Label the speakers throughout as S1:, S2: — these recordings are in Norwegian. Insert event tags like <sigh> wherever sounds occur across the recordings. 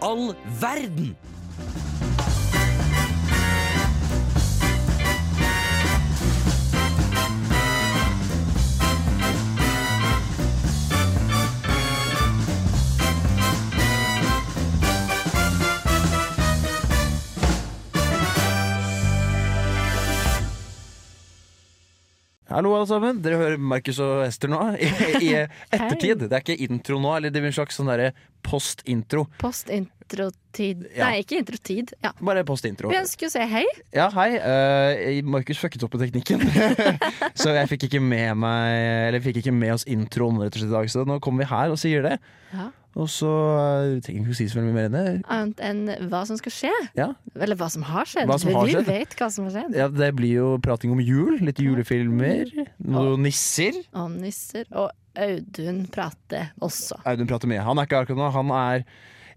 S1: all verden?
S2: Hallo, alle sammen. Dere hører Markus og Ester nå. I, i ettertid. Det er ikke intro nå, eller det blir en slags sånn derre post-intro.
S3: Post-introtid
S2: Ja.
S3: Nei, ikke introtid. Ja.
S2: Bare post-intro.
S3: Vi ønsker å si hei.
S2: Ja, hei. eh, Markus fucket opp på teknikken. <laughs> så jeg fikk ikke med meg Eller fikk ikke med oss introen rett og slett i dag, så nå kommer vi her og sier det.
S3: Ja.
S2: Og så eh, trenger vi ikke å si så veldig mye mer enn det.
S3: Annet enn hva som skal skje.
S2: Ja.
S3: Eller hva som har skjedd.
S2: Hva som har skjedd.
S3: Vi vet hva som har skjedd.
S2: ja, Det blir jo prating om jul. Litt julefilmer. Noen nisser.
S3: Og nisser. Og Audun prater også.
S2: Audun prater mye. Han er ikke akkurat nå. Han er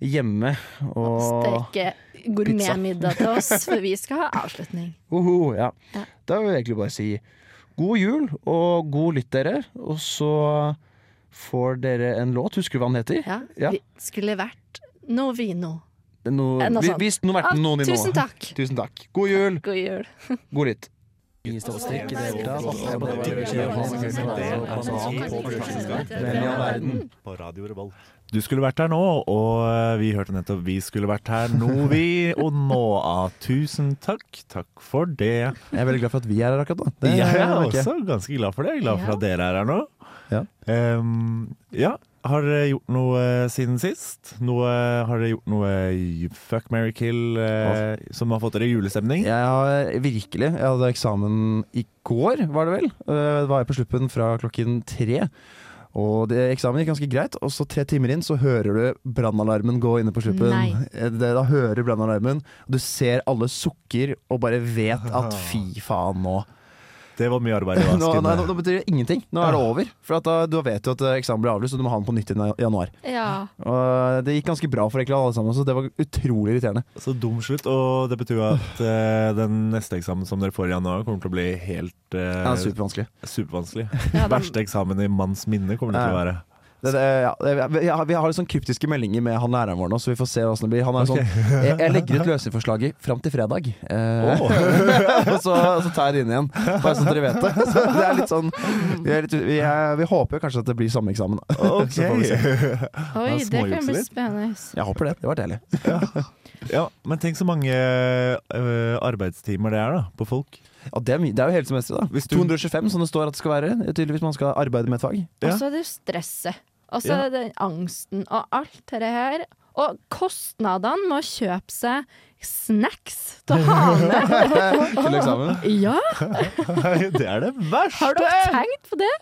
S2: hjemme og
S3: Steke gourmetmiddag til
S2: <laughs>
S3: oss, for vi skal ha avslutning.
S2: Oho, ja.
S3: Ja.
S2: Da vil jeg egentlig bare si god jul og god lytt, dere. Og så får dere en låt. Husker du hva den heter?
S3: Ja.
S2: Ja.
S3: Vi skulle vært Novino.
S2: Det er noe-
S3: Eh, noe
S2: vi-
S3: sånt.
S2: Hvis noe vært
S3: Ah,
S2: noen i nå.
S3: tusen takk.
S2: Tusen takk. God jul,
S3: God jul.
S2: god lytt.
S4: Du skulle vært her nå, og eh, vi hørte nettopp 'Vi skulle vært her
S5: <laughs>
S4: nå, vi'. Og nå, ah, tusen takk. Takk for det.
S5: Jeg er veldig glad for at vi er her akkurat nå. Det
S4: Jeg er
S5: ikke-
S4: også ganske glad for det. Jeg er glad for at dere er her nå.
S5: Ja.
S4: Ehm, ja. Har dere gjort noe eh, siden sist? Noe, har dere gjort noe eh, fuck, marry, kill eh, som har fått dere i julestemning?
S5: Jeg har virkelig Jeg hadde eksamen i går, var det vel. Eh, var jeg på sluppen fra klokken tre. Og det, eksamen gikk ganske greit, og så tre timer inn så hører du brannalarmen gå inne på sluppen.
S3: Nei.
S5: Eh, Det, da hører du brannalarmen, og du ser alle sukker og bare vet
S4: <laughs>
S5: at fy faen nå.
S4: Det var mye arbeid i
S5: <laughs> Nå,
S4: vasken.
S5: nei, nå, nå betyr det ingenting. Nå er det over. For at da, da vet du at eh, eksamen blir avlyst, og du må ha den på nytt i januar.
S3: Ja.
S5: Og eh, det gikk ganske bra for egentlig alle sammen, så det var utrolig irriterende.
S4: Så dum slutt, og det betyr jo at eh, den neste eksamen som dere får i januar, kommer til å bli helt eh,
S5: Ja, supervanskelig.
S4: <laughs> supervanskelig.
S3: Ja, da-
S4: Verste eksamen i manns minne kommer det til å være. <laughs>
S5: Det, det, ja, det, vi- ja, vi har litt sånn kryptiske meldinger med han læreren vår nå, så vi får se åssen det blir. Han er sånn jeg, 'Jeg legger
S4: <laughs>
S5: ut løsningsforslaget fram til fredag', eh, <laughs> og, så, og så tar jeg det inn igjen. Bare så dere vet det. Så det er litt sånn Vi, er litt, vi, er, vi håper jo kanskje at det blir samme eksamen. da. <laughs>
S4: Ok!
S5: Så får vi se.
S3: Oi,
S4: Jeg
S3: det kan
S4: småjukser
S3: bli
S4: litt.
S3: spennende.
S5: Jeg håper det. Det var deilig.
S4: Ja, men tenk så mange eh, arbeidstimer det er da, på <laughs> folk.
S5: Ja, det, er mye- det er jo hele semesteret, da.
S4: Hvis du-
S5: 225 som det står at det skal være. Det er Tydeligvis man skal arbeide med et
S4: <laughs>
S5: fag.
S4: Ja.
S3: Og så er det stresset. Og så
S4: Ja.
S3: er det den angsten og alt det her. Og kostnadene med å kjøpe seg snacks til å
S5: <laughs>
S3: ha med.
S5: Til eksamen.
S3: Ja,
S4: det er det verste!
S3: har du tenkt på det?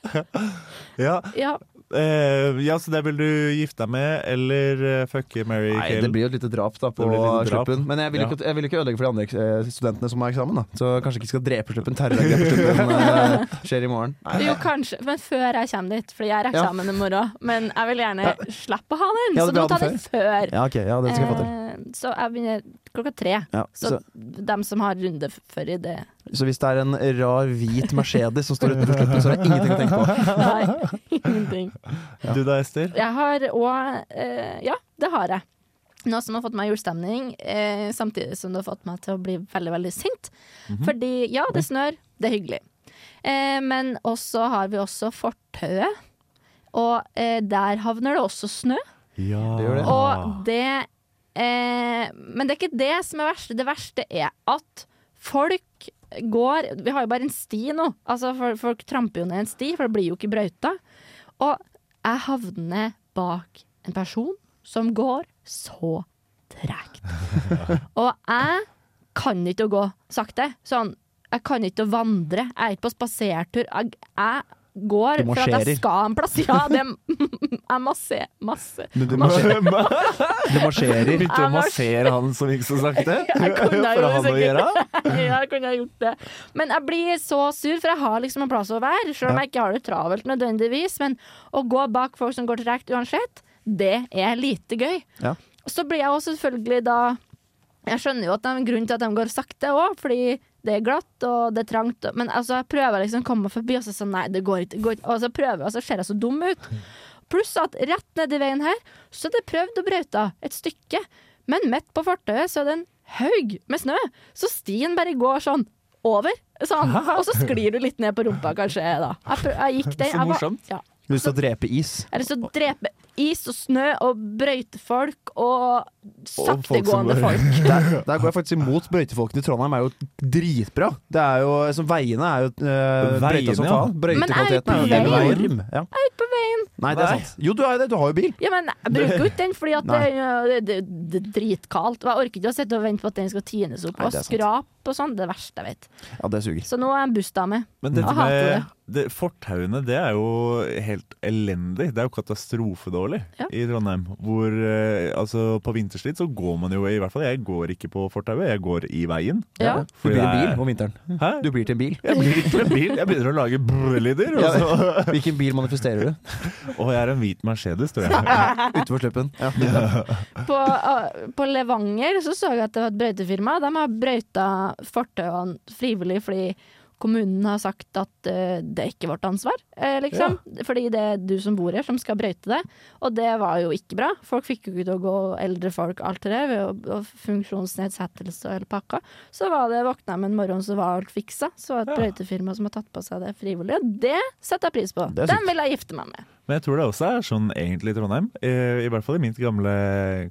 S4: Ja,
S3: Ja,
S4: eh, ja, så det vil du gifte deg med, eller eh, fucke Mary
S5: Nei, det blir jo et lite drap da på
S4: Det blir et lite drap.
S5: sluppen. Men jeg vil, ikke, jeg vil ikke ødelegge for de andre eh, studentene som har eksamen. da Så kanskje ikke skal drepe sluppen. Terrorangrep på sluppen eh, skjer i morgen.
S3: jo kanskje, men før jeg kommer dit, fordi jeg har eksamen i morgen. Men jeg vil gjerne slippe å ha den,
S5: Ja,
S3: så
S5: det
S3: du må
S5: blir
S3: ta
S5: den
S3: den før.
S5: Ja, ok, ja, det skal jeg få til.
S3: Eh, Så jeg begynner klokka tre.
S5: Ja,
S3: Så,
S5: så,
S3: dem som har runde f- før i
S5: <laughs>
S3: det
S5: så hvis det er en rar hvit Mercedes som står utenfor sluppen, så er det ingenting å tenke på.
S3: Nei, <laughs> ingenting.
S4: Du da, Ester?
S3: Jeg har òg eh, Ja, det har jeg. Noe som har fått meg i julestemning, eh, samtidig som det har fått meg til å bli veldig veldig sint. Fordi ja, det snør, det er hyggelig. Eh, men også har vi også fortauet. Og eh, der havner det også snø.
S4: Ja.
S5: Det gjør det.
S3: Og det eh, Men det er ikke det som er verst. Det verste er at folk går Vi har jo bare en sti nå. Altså folk, folk tramper jo ned en sti, for det blir jo ikke brøyta. Og jeg havner bak en person som går så
S5: <laughs>
S3: tregt. Og jeg kan ikke å gå sakte. Sånn, jeg kan ikke å vandre. Jeg er ikke på spasertur. Jeg, jeg går
S5: Du
S3: for at
S5: marsjerer.
S3: jeg skal en plass. Ja, det, <laughs> jeg masse, masse.
S5: Du, du marsjerer. Du marsjerer.
S4: Begynte å massere han som gikk så sakte?
S3: <laughs> Jeg kunne
S4: For
S3: jo
S4: han å
S3: sikkert-
S4: gjøre?
S3: <laughs> ja, jeg kunne ha gjort det. Men jeg blir så sur, for jeg har liksom en plass å være. Selv om jeg ikke har det travelt nødvendigvis. Men å gå bak folk som går tregt uansett, det er lite gøy.
S5: Ja.
S3: Og så blir jeg jo selvfølgelig da Jeg skjønner jo at det er en grunn til at de går sakte òg, fordi det er glatt og det er trangt. Men altså, jeg prøver liksom å komme meg forbi, og så sånn nei, det går ikke. Det går ikke. Og så prøver jeg, og så ser jeg så dum ut. Pluss at rett nedi veien her, så er det prøvd og brøyta et stykke. Men midt på fortauet så er det en haug med snø, så stien bare går sånn over. Sånn.
S2: <laughs>
S3: Og så sklir du litt ned på rumpa, kanskje. da Jeg, prøv, jeg gikk den.
S2: Så
S3: jeg var-
S2: morsomt.
S3: Ja.
S5: Lyst til å drepe is.
S3: Jeg har lyst til å drepe is og snø og brøytefolk og saktegående
S4: som bare-
S3: folk.
S5: Der, der går jeg faktisk imot brøytefolkene i Trondheim. er jo dritbra. Det er jo, som Veiene er jo eh,
S4: Veiene,
S5: brøyta som
S4: ja.
S5: faen.
S3: Men er
S5: Brøytekvaliteten
S3: jeg
S5: er jo
S3: på veien?
S5: enorm. Ja.
S3: Jeg er ute på veien.
S5: Nei, det er
S4: Nei.
S5: sant. Jo, du er det. Du har jo bil.
S3: Ja, men jeg bruker jo ikke den, fordi at det,
S5: <laughs> Nei.
S3: det, det, det er dritkaldt. Og jeg orker ikke å sitte og vente på at den skal tines opp
S5: Nei,
S3: og
S5: det er sant.
S3: skrape og sånn. Det er det verste jeg vet.
S5: Ja, det suger.
S3: Så nå er jeg en bussdame.
S4: Men dette
S3: Jeg hater
S4: med
S3: det.
S4: det, fortauene, det er jo helt elendig. Det er jo katastrofedårlig
S3: Ja.
S4: i Trondheim. Hvor eh, altså på vinterstid så går man jo i hvert fall Jeg går ikke på fortauet, jeg går i veien.
S3: Ja.
S5: Du blir
S4: det
S5: en
S4: er-
S5: bil om vinteren.
S4: Hæ?
S5: Du blir til en bil.
S4: Jeg blir ikke en bil, jeg begynner å lage brr-lyder. Og, så-
S5: Hvilken bil manifesterer du?
S4: og jeg er en hvit Mercedes, tror
S5: <laughs>
S4: jeg.
S5: Utenfor sluppen. Ja.
S3: På, uh, på Levanger så så jeg at det var et brøytefirma. De har brøyta fortauene frivillig fordi kommunen har sagt at uh, det er ikke vårt ansvar, eh, liksom. Fordi det er du som bor her som skal brøyte det. Og det var jo ikke bra. Folk fikk jo ikke til å gå, eldre folk, alt det der, ved å- og funksjonsnedsettelse og hele pakka. Så var det våkna jeg med en morgen, så var alt fiksa. Så var det et brøytefirma som har tatt på seg det frivillig. Og det setter jeg pris på.
S5: Det er
S3: Den vil jeg gifte meg med.
S4: Men jeg tror det også er sånn egentlig i Trondheim. Eh, I, i hvert fall i mitt gamle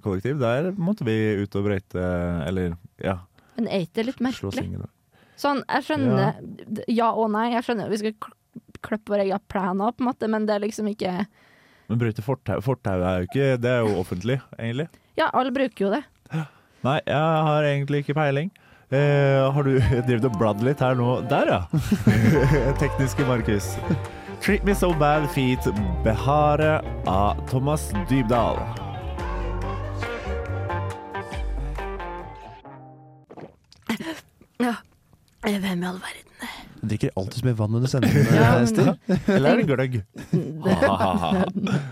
S4: kollektiv. Der måtte vi ut og brøyte, eller ja,
S3: Men er ikke det litt
S4: slå
S3: merkelig?
S4: svinger.
S3: Sånn, jeg skjønner ja. og nei. Jeg skjønner vi skal kl- klippe våre egne planer, på en måte, men det er liksom ikke
S4: Men brøyte fortau, fortau er jo ikke Det er jo offentlig, egentlig.
S3: Ja, alle bruker jo det.
S4: Nei, jeg har egentlig ikke peiling. Eh, har du <laughs> drevet og bladd litt her nå? Der, ja! <laughs> Tekniske Markus. Treat me so bad feet, Behare av Thomas Dybdahl.
S3: Eh, Hvem i all verden?
S5: Du drikker alltid så mye vann under sendingen. eh,
S3: Ja, men-
S5: Ester.
S4: Eller er det gløgg?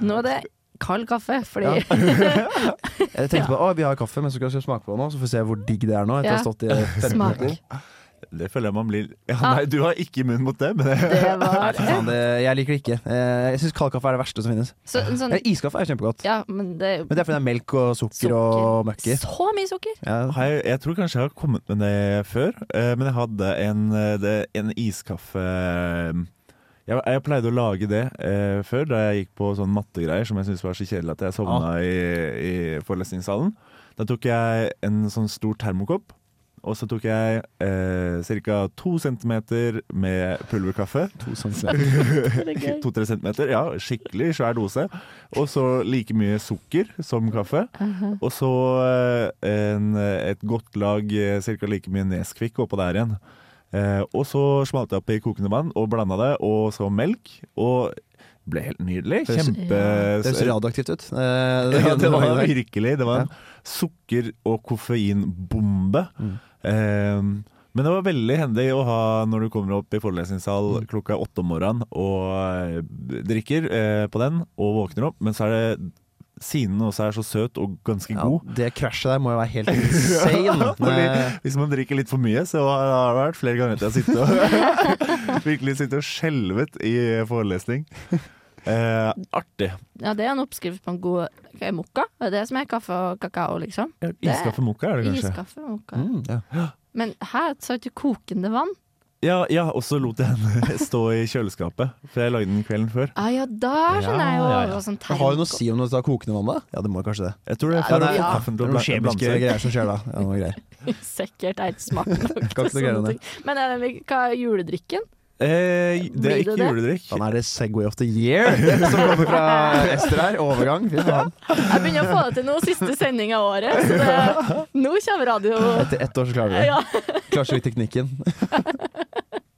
S3: Nå er det kald kaffe, <laughs> fordi
S5: Ja. Jeg tenkte på, å, vi har kaffe, men så skal jeg smake på det nå, så får vi se hvor digg det er nå. Etter å ha
S3: Ja.
S5: stått i 15
S3: Smak.
S5: minutter.
S4: Det føler jeg man blir ja, Nei, du har ikke munn mot det, men
S3: det
S5: Nei,
S3: var
S5: fy faen, det, jeg liker det ikke. Eh, Jeg syns kald kaffe er det verste som finnes.
S3: så, en sånn,
S5: Eh, Iskaffe er kjempegodt,
S3: Ja, men det er jo
S5: men det er fordi det er melk og sukker
S3: Sukker.
S5: og møkki.
S3: så mye
S5: <laughs>
S3: sukker!
S5: Ja.
S4: Har jeg, jeg tror kanskje jeg har kommet med det før, eh, men jeg hadde en, eh, det, en iskaffe eh, jeg, jeg pleide å lage det eh, før, da jeg gikk på sånn mattegreier som jeg syntes var så kjedelig at jeg sovna i, i forelesningssalen. Da tok jeg en sånn stor termokopp, og så tok jeg eh, ca. to centimeter med pulverkaffe.
S5: To centimeter.
S3: Det er gøy.
S4: <laughs> To-tre centimeter, ja. Skikkelig svær dose. Og så like mye sukker som kaffe. Og så eh, en, et godt lag, ca. like mye Nesquik oppå der igjen. Eh, og så smalt jeg opp i kokende vann og blanda det, og så melk. Og ble helt nydelig.
S5: Høres-
S4: Kjempe
S5: Det høres radioaktivt ut. <laughs> Eh,
S4: ja, det var
S5: det.
S4: virkelig Det var en sukker- og koffeinbombe.
S5: Mm.
S4: Eh, men det var veldig hendig å ha når du kommer opp i forelesningssal klokka åtte om morgenen og eh, drikker eh, på den og våkner opp, men så er det siden den også er så søt og ganske
S5: Ja,
S4: god.
S5: det krasjet der må jo være helt <laughs>
S4: <laughs>
S5: insane.
S4: Fordi hvis man drikker litt for mye, så har det vært flere ganger at jeg har sittet og <laughs> virkelig sittet og skjelvet i <laughs> forelesning. Eh, artig.
S3: Ja, det er en oppskrift på en god hva er mokka. Det er det som er kaffe og kakao, liksom.
S4: Iskaffe mokka er det kanskje?
S3: Iskaffe og mokka.
S5: Mm, ja.
S3: Men her sa du kokende vann?
S4: Ja, ja, og så lot jeg henne <laughs> stå i kjøleskapet, for jeg lagde den kvelden før.
S3: Ah, ja, da skjønner jeg jo!
S4: Ja, ja, ja.
S3: Og Sånn
S5: Det har jo noe å si om du tar kokende vann, da? Ja, det må kanskje det.
S4: Jeg tror det
S3: Ja,
S4: er for
S3: det-
S4: å få
S3: ja.
S4: kaffen
S5: Det
S4: til
S5: er
S4: å bla-
S5: noen kjemiske
S4: blande seg.
S5: greier som skjer da. Ja, noe greier.
S3: Sikkert er ikke smak
S5: <laughs> Kan
S3: nok til
S5: ikke noe
S3: sånne
S5: greier
S3: ting. Men er det, hva er juledrikken?
S4: Eh, det er
S3: Blir det
S4: ikke
S3: det?
S4: juledrikk.
S5: Faen, er det Segway of the <laughs> Year som kommer fra Ester her? Overgang? Fy faen.
S3: Jeg begynner å få det til nå, siste sending av året.
S5: <laughs>
S3: Så det, nå kommer radio
S5: Etter ett år så klarer du det.
S3: ja.
S5: Klarer så vidt teknikken.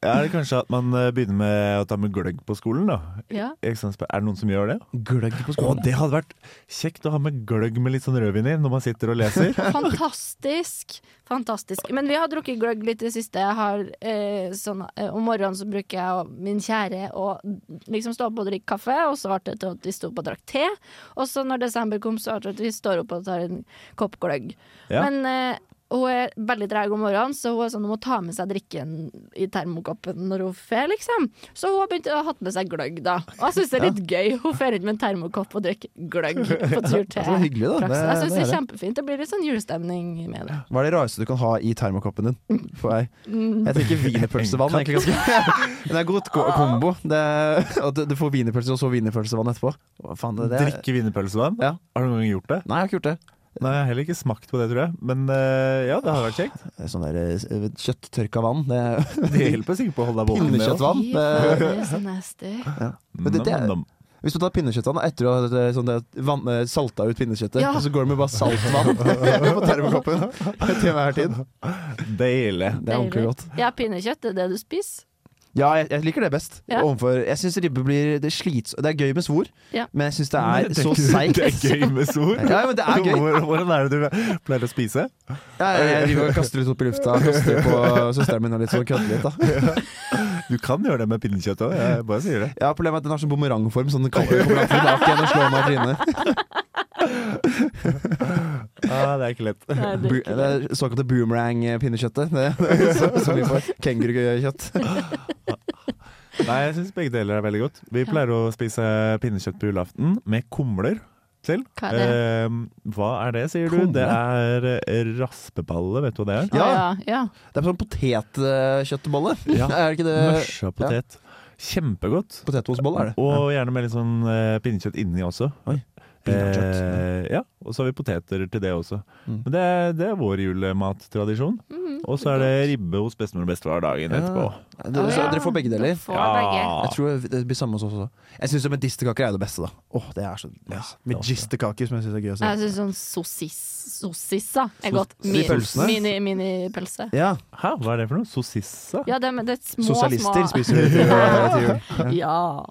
S4: Er det kanskje at man eh, begynner med å ta med gløgg på skolen, da?
S3: ja.
S4: Eksamenspe- Er det noen som gjør det?
S5: Gløgg på
S4: Å, det hadde vært kjekt å ha med gløgg med litt sånn rødvin i når man sitter og leser.
S3: <laughs> Fantastisk. Fantastisk. Men vi har drukket gløgg litt i det siste. Jeg har, eh, sånn, eh, om morgenen så bruker jeg og min kjære å liksom stå opp og drikke kaffe, og så ble det til at vi sto opp og drakk te. Og så når desember kom, så ble det til at vi står opp og tar en kopp gløgg.
S4: Ja.
S3: Men eh, Og hun er veldig treg om morgenen, så hun er sånn, hun må ta med seg drikken i termokoppen når hun fer, liksom. Så hun har begynt å ha hatt med seg gløgg, da. Og jeg syns det er litt gøy. Hun fer rundt med en termokopp og drikker gløgg på
S5: <laughs>
S3: tur til
S5: Det var hyggelig, da.
S3: praksis. Jeg
S5: Det- det
S3: syns
S5: er
S3: det er
S5: det.
S3: kjempefint. Det blir litt sånn julestemning med det.
S5: Hva er det rareste du kan ha i termokoppen din? På vei? Jeg tenker wienerpølsevann. er egentlig <laughs> ganske Men det er godt ko- kombo. Det, er- at du- du får wienerpølse og så wienerpølsevann etterpå. Hva faen det, det er-
S4: Drikke wienerpølsevann?
S5: Ja.
S4: Har du noen gang gjort det?
S5: Nei, jeg har ikke gjort det.
S4: Nei, Jeg har heller ikke smakt på det, tror jeg. Men eh, ja, det har vært kjekt.
S5: Sånn der eh, kjøtttørka vann. Det,
S4: Det hjelper sikkert på å holde deg våken. det også.
S5: pinnekjøttvann.
S3: Fy
S5: Det,
S3: faen, det er så nasty.
S5: <laughs> Men Eh. det- det er-
S4: Nom, nom.
S5: hvis du tar pinnekjøttvann etter å ha eh, sånn det, vann, eh, salta ut pinnekjøttet,
S3: Ja.
S5: og så går det med bare saltvann på termokoppen <laughs> til enhver tid.
S4: Deilig.
S5: Det er ordentlig godt.
S3: Ja, pinnekjøtt det er det du spiser.
S5: Ja, jeg, jeg liker det best.
S3: Ja.
S5: Overfor, jeg syns ribbe blir det, slits, det er gøy med svor,
S3: Ja.
S5: men jeg syns det er
S4: Det
S5: så
S4: gøy-
S5: seigt.
S4: Det er gøy med sol.
S5: <laughs> Ja, men det er gøy.
S4: Hvor- Hvordan er det du pleier å spise?
S5: Ja, jeg, jeg driver og kaster litt opp i lufta. Kaster på søsteren min og litt sånn kødder litt. da
S4: Du kan gjøre det med pinnekjøtt òg, jeg bare
S5: <laughs>
S4: sier det.
S5: Ja, Problemet er at den har sånn bumerangform, så den kommer kommer tilbake igjen og slår meg i trynet.
S4: Ah, det er ikke lett.
S3: Nei, det er
S5: Bu-
S3: ikke
S5: Det
S3: det.
S5: er såkalte boomerang-pinnekjøttet. Det, det er så, så mye for kengurukjøtt.
S4: Nei, jeg syns begge deler er veldig godt. Vi pleier å spise pinnekjøtt på julaften med kumler til.
S3: Hva er det?
S4: Eh, hva er det, sier du?
S5: Kumle?
S4: Det er eh, raspeballe, vet du hva det er?
S5: Ja.
S3: Ja, ja.
S5: Det er sånn potetkjøttbolle.
S4: Ja.
S5: Er det ikke det?
S4: Mørsa potet. Kjempegodt.
S5: Potetmosbolle er det.
S4: Og gjerne med litt sånn eh, pinnekjøtt inni også.
S5: Oi, pinnekjøtt.
S4: Eh, ja, og så har vi poteter til det også.
S5: Mm.
S4: Men det er, det er vår julemattradisjon.
S3: Mm,
S4: Og så er det ribbe hos bestemor og bestefar dagen
S5: Ja.
S4: etterpå.
S5: Du, så dere får begge deler.
S3: Får begge.
S5: Jeg tror det blir samme hos oss også. Jeg syns medisterkaker er det beste, da. Åh, det er så nice. Medisterkaker som jeg syns er gøy å se.
S3: Jeg syns sånn sossis Sossissa er
S5: Sos-
S3: godt. Mi-
S5: de pølsene?
S3: mini- Minipølse.
S5: Ja,
S4: Hæ, hva er det for noe? Sossissa?
S3: ja, det, er- men det er små,
S5: Sosialister
S3: små
S5: spiser det til til jul.
S3: Ja.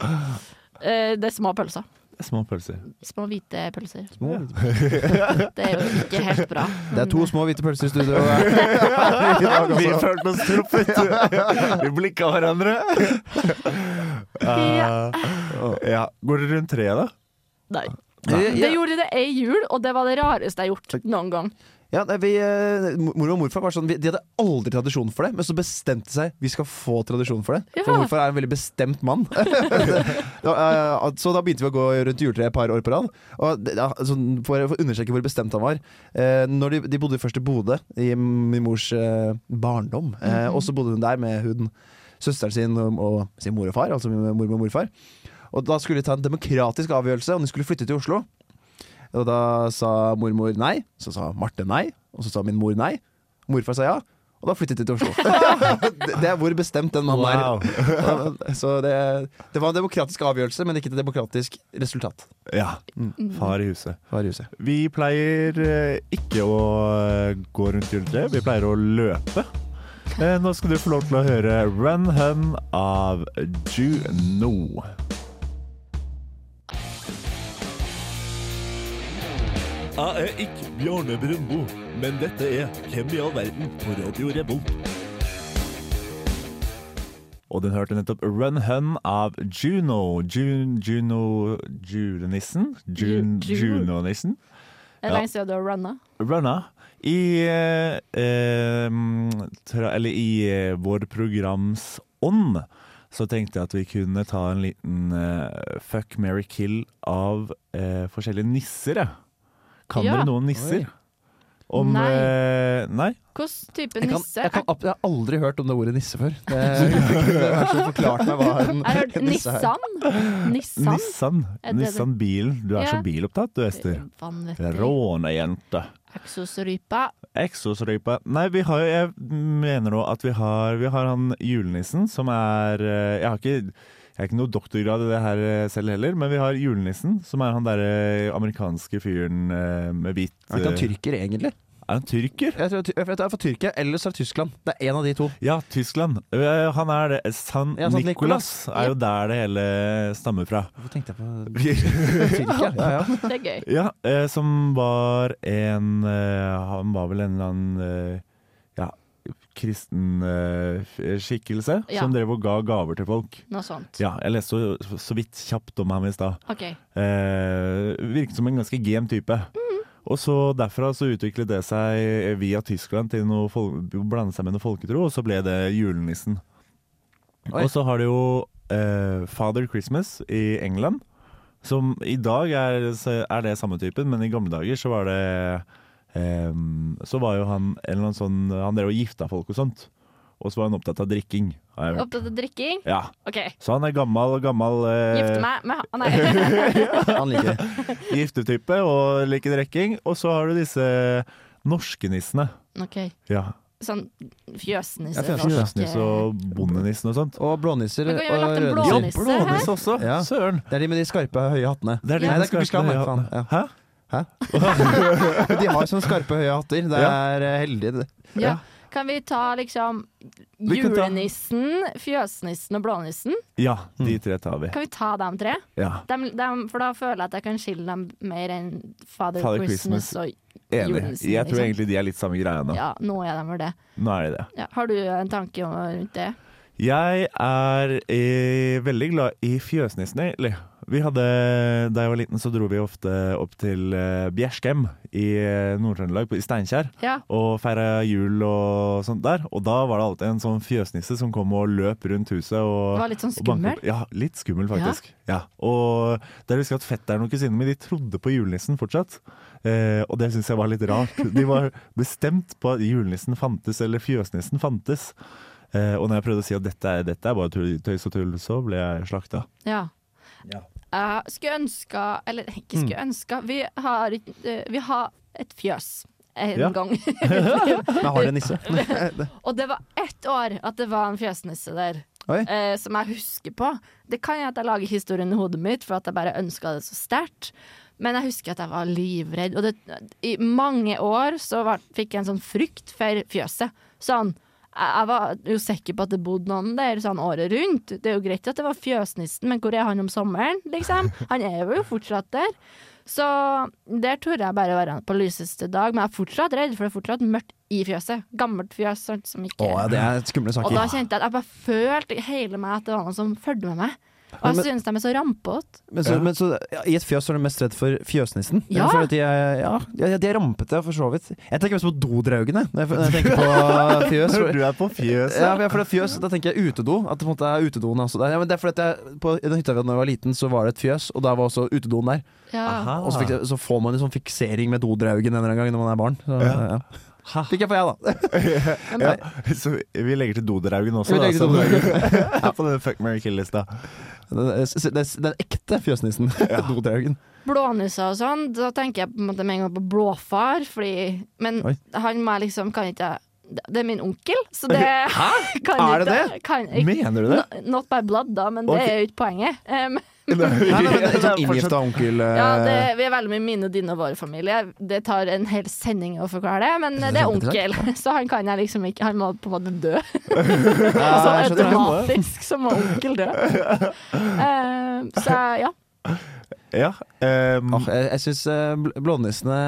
S3: Eh, Det er små pølser.
S4: Det er Små pølser.
S5: <laughs>
S3: Små hvite pølser.
S5: Små hvite
S3: Det er jo ikke helt bra.
S5: Det er to små hvite pølser i studio. I dag
S4: Vi
S5: også.
S4: følte oss truffet!
S5: <laughs>
S4: Vi blikka hverandre.
S3: Ja.
S4: Eh, ja. Går dere rundt treet, da?
S3: Nei.
S5: Ja,
S3: Det gjorde det ei jul, og det var det rareste jeg har gjort noen gang.
S5: Ja, nei, vi, eh, mor og morfar var sånn, vi- de hadde aldri tradisjon for det, men så bestemte seg vi skal få tradisjon for det. For
S3: Ja.
S5: morfar er en veldig bestemt mann. <laughs> Da, eh, så da begynte vi å gå rundt juletreet et par år på rad. Og det- ja, altså, for, for å understreke hvor bestemt han var eh, Når de, de bodde først i Bodø, i min mors eh, barndom, eh, og så bodde hun der med hun, søsteren sin og, og sin mor og far, altså min mor og morfar. Og da skulle de ta en demokratisk avgjørelse, om de skulle flytte til Oslo. Og da sa mormor nei, så sa Marte nei, og så sa min mor nei. Morfar sa ja, og da flyttet de til Oslo. <laughs> det, det er hvor bestemt den mannen
S4: Wow.
S5: er. <laughs> Så det, det var en demokratisk avgjørelse, men ikke et demokratisk resultat.
S4: Ja. Mm.
S3: Mm.
S4: Far i huset.
S5: Var huset.
S4: Vi pleier eh, ikke å eh, gå rundt juletreet, vi pleier å løpe. Eh, Nå skal du få lov til å høre Run Hun av Juno.
S1: Jeg er ikke Bjarne Brøndbo, men dette er Hvem i all verden på Radio Revolt.
S4: Og den hørte nettopp Run Hun av Juno. Jun, Juno Julenissen? Jun,
S3: Ju- Ju-
S4: Junonissen?
S3: Det er
S4: Ja.
S3: lenge siden du har runna.
S4: Runna. I, eh, eh, tra, eller i eh, vår programs ånd så tenkte jeg at vi kunne ta en liten eh, fuck, marry, kill av eh, forskjellige nisser. jeg. Kan
S3: Ja.
S4: dere noen nisser? Om
S3: Nei.
S4: eh, Nei?
S3: Hvilken type
S5: Jeg, kan,
S3: nisse?
S5: jeg, kan, jeg har aldri hørt om det ordet nisse før. <laughs> Det, det er så forklart meg hva en
S3: Jeg har hørt
S5: <laughs> nisse er.
S3: Nissan. Nissan?
S4: Nissan.
S3: Er det det?
S4: Nissan bilen. Du er
S3: Ja.
S4: så bilopptatt, du, Ester.
S3: Vanvittig.
S4: Rånejente.
S3: Eksosrypa.
S4: Eksosrype. Nei, vi har jo Jeg mener nå at vi har Vi har han julenissen som er eh, Jeg har ikke jeg er ikke noe doktorgrad i det her eh, selv heller, men vi har julenissen, som er han derre eh, amerikanske fyren eh, med hvitt
S5: Er ikke han
S4: eh,
S5: tyrker, egentlig?
S4: Er han tyrker?
S5: Jeg tror, jeg tror jeg er fra Tyrkia, eller så er det Tyskland. Det er en av de to.
S4: Ja, Tyskland. Eh, Han er det. San
S5: Ja, Sant
S4: Nicolas er jo der det hele stammer
S5: <laughs>
S4: fra. <laughs>
S5: Hvorfor tenkte jeg på Tyrkia? <laughs> Ja, ja.
S3: Det er gøy.
S4: Ja, eh, som var en eh, Han var vel en eller annen eh, ja, kristen eh, f- skikkelse
S3: Ja.
S4: som drev og ga gaver til folk.
S3: Noe sånt.
S4: Ja, jeg leste så, så vidt kjapt om ham i stad.
S3: OK.
S4: Eh, virket som en ganske gen type. Og så Derfra så utviklet det seg eh, via Tyskland til noe fol- blande seg med noe folketro, og så ble det julenissen.
S5: Oi.
S4: Og så har du jo eh, Father Christmas i England, som i dag er, er det samme typen, men i gamle dager så var det eh, Så var jo han en eller annen sånn Han drev og gifta folk og sånt, og så var han opptatt av drikking. Har jeg hørt.
S3: Opptatt av drikking?
S4: Ja,
S3: OK.
S4: Så han er gammel, gammel eh,
S3: Gifte meg med han Nei.
S5: Han liker det.
S4: giftetype og liker drikking. Og så har du disse norske nissene.
S3: OK.
S4: Ja.
S3: Sånn
S5: Ja, fjøsnisse.
S3: fjøsnisse. norsk,
S4: Fjøsnisse
S3: eh.
S4: og bondenissen og sånt.
S5: Og blånisser.
S3: Men kan vi ha
S5: og
S3: lagt en
S5: rødnisser.
S3: blånisse? Blånisse her?
S4: også!
S5: Ja.
S4: Søren!
S5: Det er de med de skarpe, høye hattene.
S4: Det er de
S5: Nei,
S4: som
S5: det er ikke
S4: skal
S5: Bislett,
S4: ha
S5: faen.
S4: hatten.
S5: Ja.
S4: Hæ?
S5: De har sånne skarpe, høye hatter. Det
S4: Ja.
S5: er eh, heldig. det.
S3: Ja. Kan vi ta liksom
S4: Vi kan ta-
S3: julenissen, fjøsnissen og blånissen?
S4: Ja, de tre tar vi.
S3: Kan vi ta dem tre?
S4: Ja.
S3: Dem, dem, for da føler jeg at jeg kan skille dem mer enn Father,
S4: Father
S3: Christmas,
S4: Christmas.
S3: og
S4: Enig.
S3: julenissen.
S4: Jeg tror
S3: liksom.
S4: egentlig de er litt samme greia nå.
S3: Ja, nå er de vel det.
S4: Nå er de det.
S3: Ja. Har du en tanke om, rundt det?
S4: Jeg er eh, veldig glad i fjøsnissen, egentlig. Vi hadde, da jeg var liten, så dro vi ofte opp til eh, Bjerskem i eh, Nord-Trøndelag, på- i Steinkjer.
S3: Ja.
S4: og feira jul og sånt der. Og da var det alltid en sånn fjøsnisse som kom og løp rundt huset. Og,
S3: Det var litt sånn
S4: og banket
S3: skummel.
S4: opp- Ja, litt skummel faktisk. Ja. Og der husker jeg at fetteren og kusinen min de trodde på julenissen fortsatt. Eh, og det syns jeg var litt
S3: <laughs>
S4: rart. De var bestemt på at julenissen fantes, eller fjøsnissen fantes. Eh, og når jeg prøvde å si at dette er, dette er bare tull- tøys og tull, så ble jeg slakta.
S3: Ja. Jeg skulle ønska Eller ikke skulle ønska Vi har, ikke- eh, vi har et fjøs en
S4: Ja.
S3: gang. <laughs>
S5: Men har det nisse?
S3: Og det var ett år at det var en fjøsnisse der.
S5: Oi.
S3: Eh, som jeg husker på. Det kan jeg at jeg lager historien i hodet mitt, for at jeg bare ønska det så sterkt. Men jeg husker at jeg var livredd. Og det, i mange år så var, fikk jeg en sånn frykt for fjøset. Sånn jeg jeg var jo sikker på at det bodde noen der sånn året rundt. Det er jo greit at det var fjøsnissen, men hvor er han om sommeren, liksom? Han er jo fortsatt der. Så der torde jeg bare være på lyseste dag, men jeg er fortsatt redd, for det er fortsatt mørkt i fjøset. Gammelt fjøs sant, som ikke
S5: Å, ja, det er skumle
S3: Og da
S5: saker.
S3: kjente jeg at jeg bare følte i hele meg at det var noen som fulgte med meg. Og jeg
S5: Men-
S3: synes de er så rampete.
S5: Men så, men så, ja, I et fjøs er du mest redd for fjøsnissen?
S3: Ja.
S5: For at de er, ja, de er- de er rampete, for så vidt. Jeg tenker mest på dodraugene når jeg, når jeg tenker <laughs> på fjøs. For,
S4: er på fjøset!
S5: ja, men for det er fjøs, Da tenker jeg utedo. At det på en måte er utedoen altså. ja, men det er fordi at jeg, på, I den hytta vi hadde da jeg var liten, så var det et fjøs, og da var også utedoen der.
S3: Ja.
S4: Aha.
S5: Og så, fikk, så får man en sånn fiksering med dodraugen en eller annen gang når man er barn. Så, ja.
S4: Ha.
S5: Fikk jeg på jeg, da.
S4: Ja, så vi legger til Doderhaugen også,
S5: Vi
S4: da.
S5: legger til
S4: som-
S5: Doderhaugen.
S4: <laughs> på den fuck, marry, kill-lista.
S5: Den, eh, den, den ekte fjøsnissen. <laughs>
S4: <laughs>
S5: Dodraugen.
S3: Blånisser og sånn, da tenker jeg på en måte med en gang på blåfar, fordi Men
S5: Oi.
S3: han må jeg liksom kan ikke Det er min onkel, så det Hæ? <laughs> Kan
S5: Er det
S3: ikke- Kan, ikke-
S4: Mener du det?
S3: No- Not by blood, da, men det
S4: Ok.
S3: er jo ikke poenget. Um,
S4: <laughs>
S5: Nei, nei, men, <laughs> sånn
S4: Det er fortsatt-
S5: inngifta onkel eh,
S3: ja, det, vi er veldig mye mine og dine og våre familie. Det tar en hel sending å forklare det, men eh, det er onkel, <laughs> så han kan jeg liksom ikke Han må på en måte dø. Så
S5: ja, jeg skjønner.
S3: automatisk så må onkel dø. Um, så ja.
S4: Ja. ehm,
S5: Åh, jeg jeg syns blånissene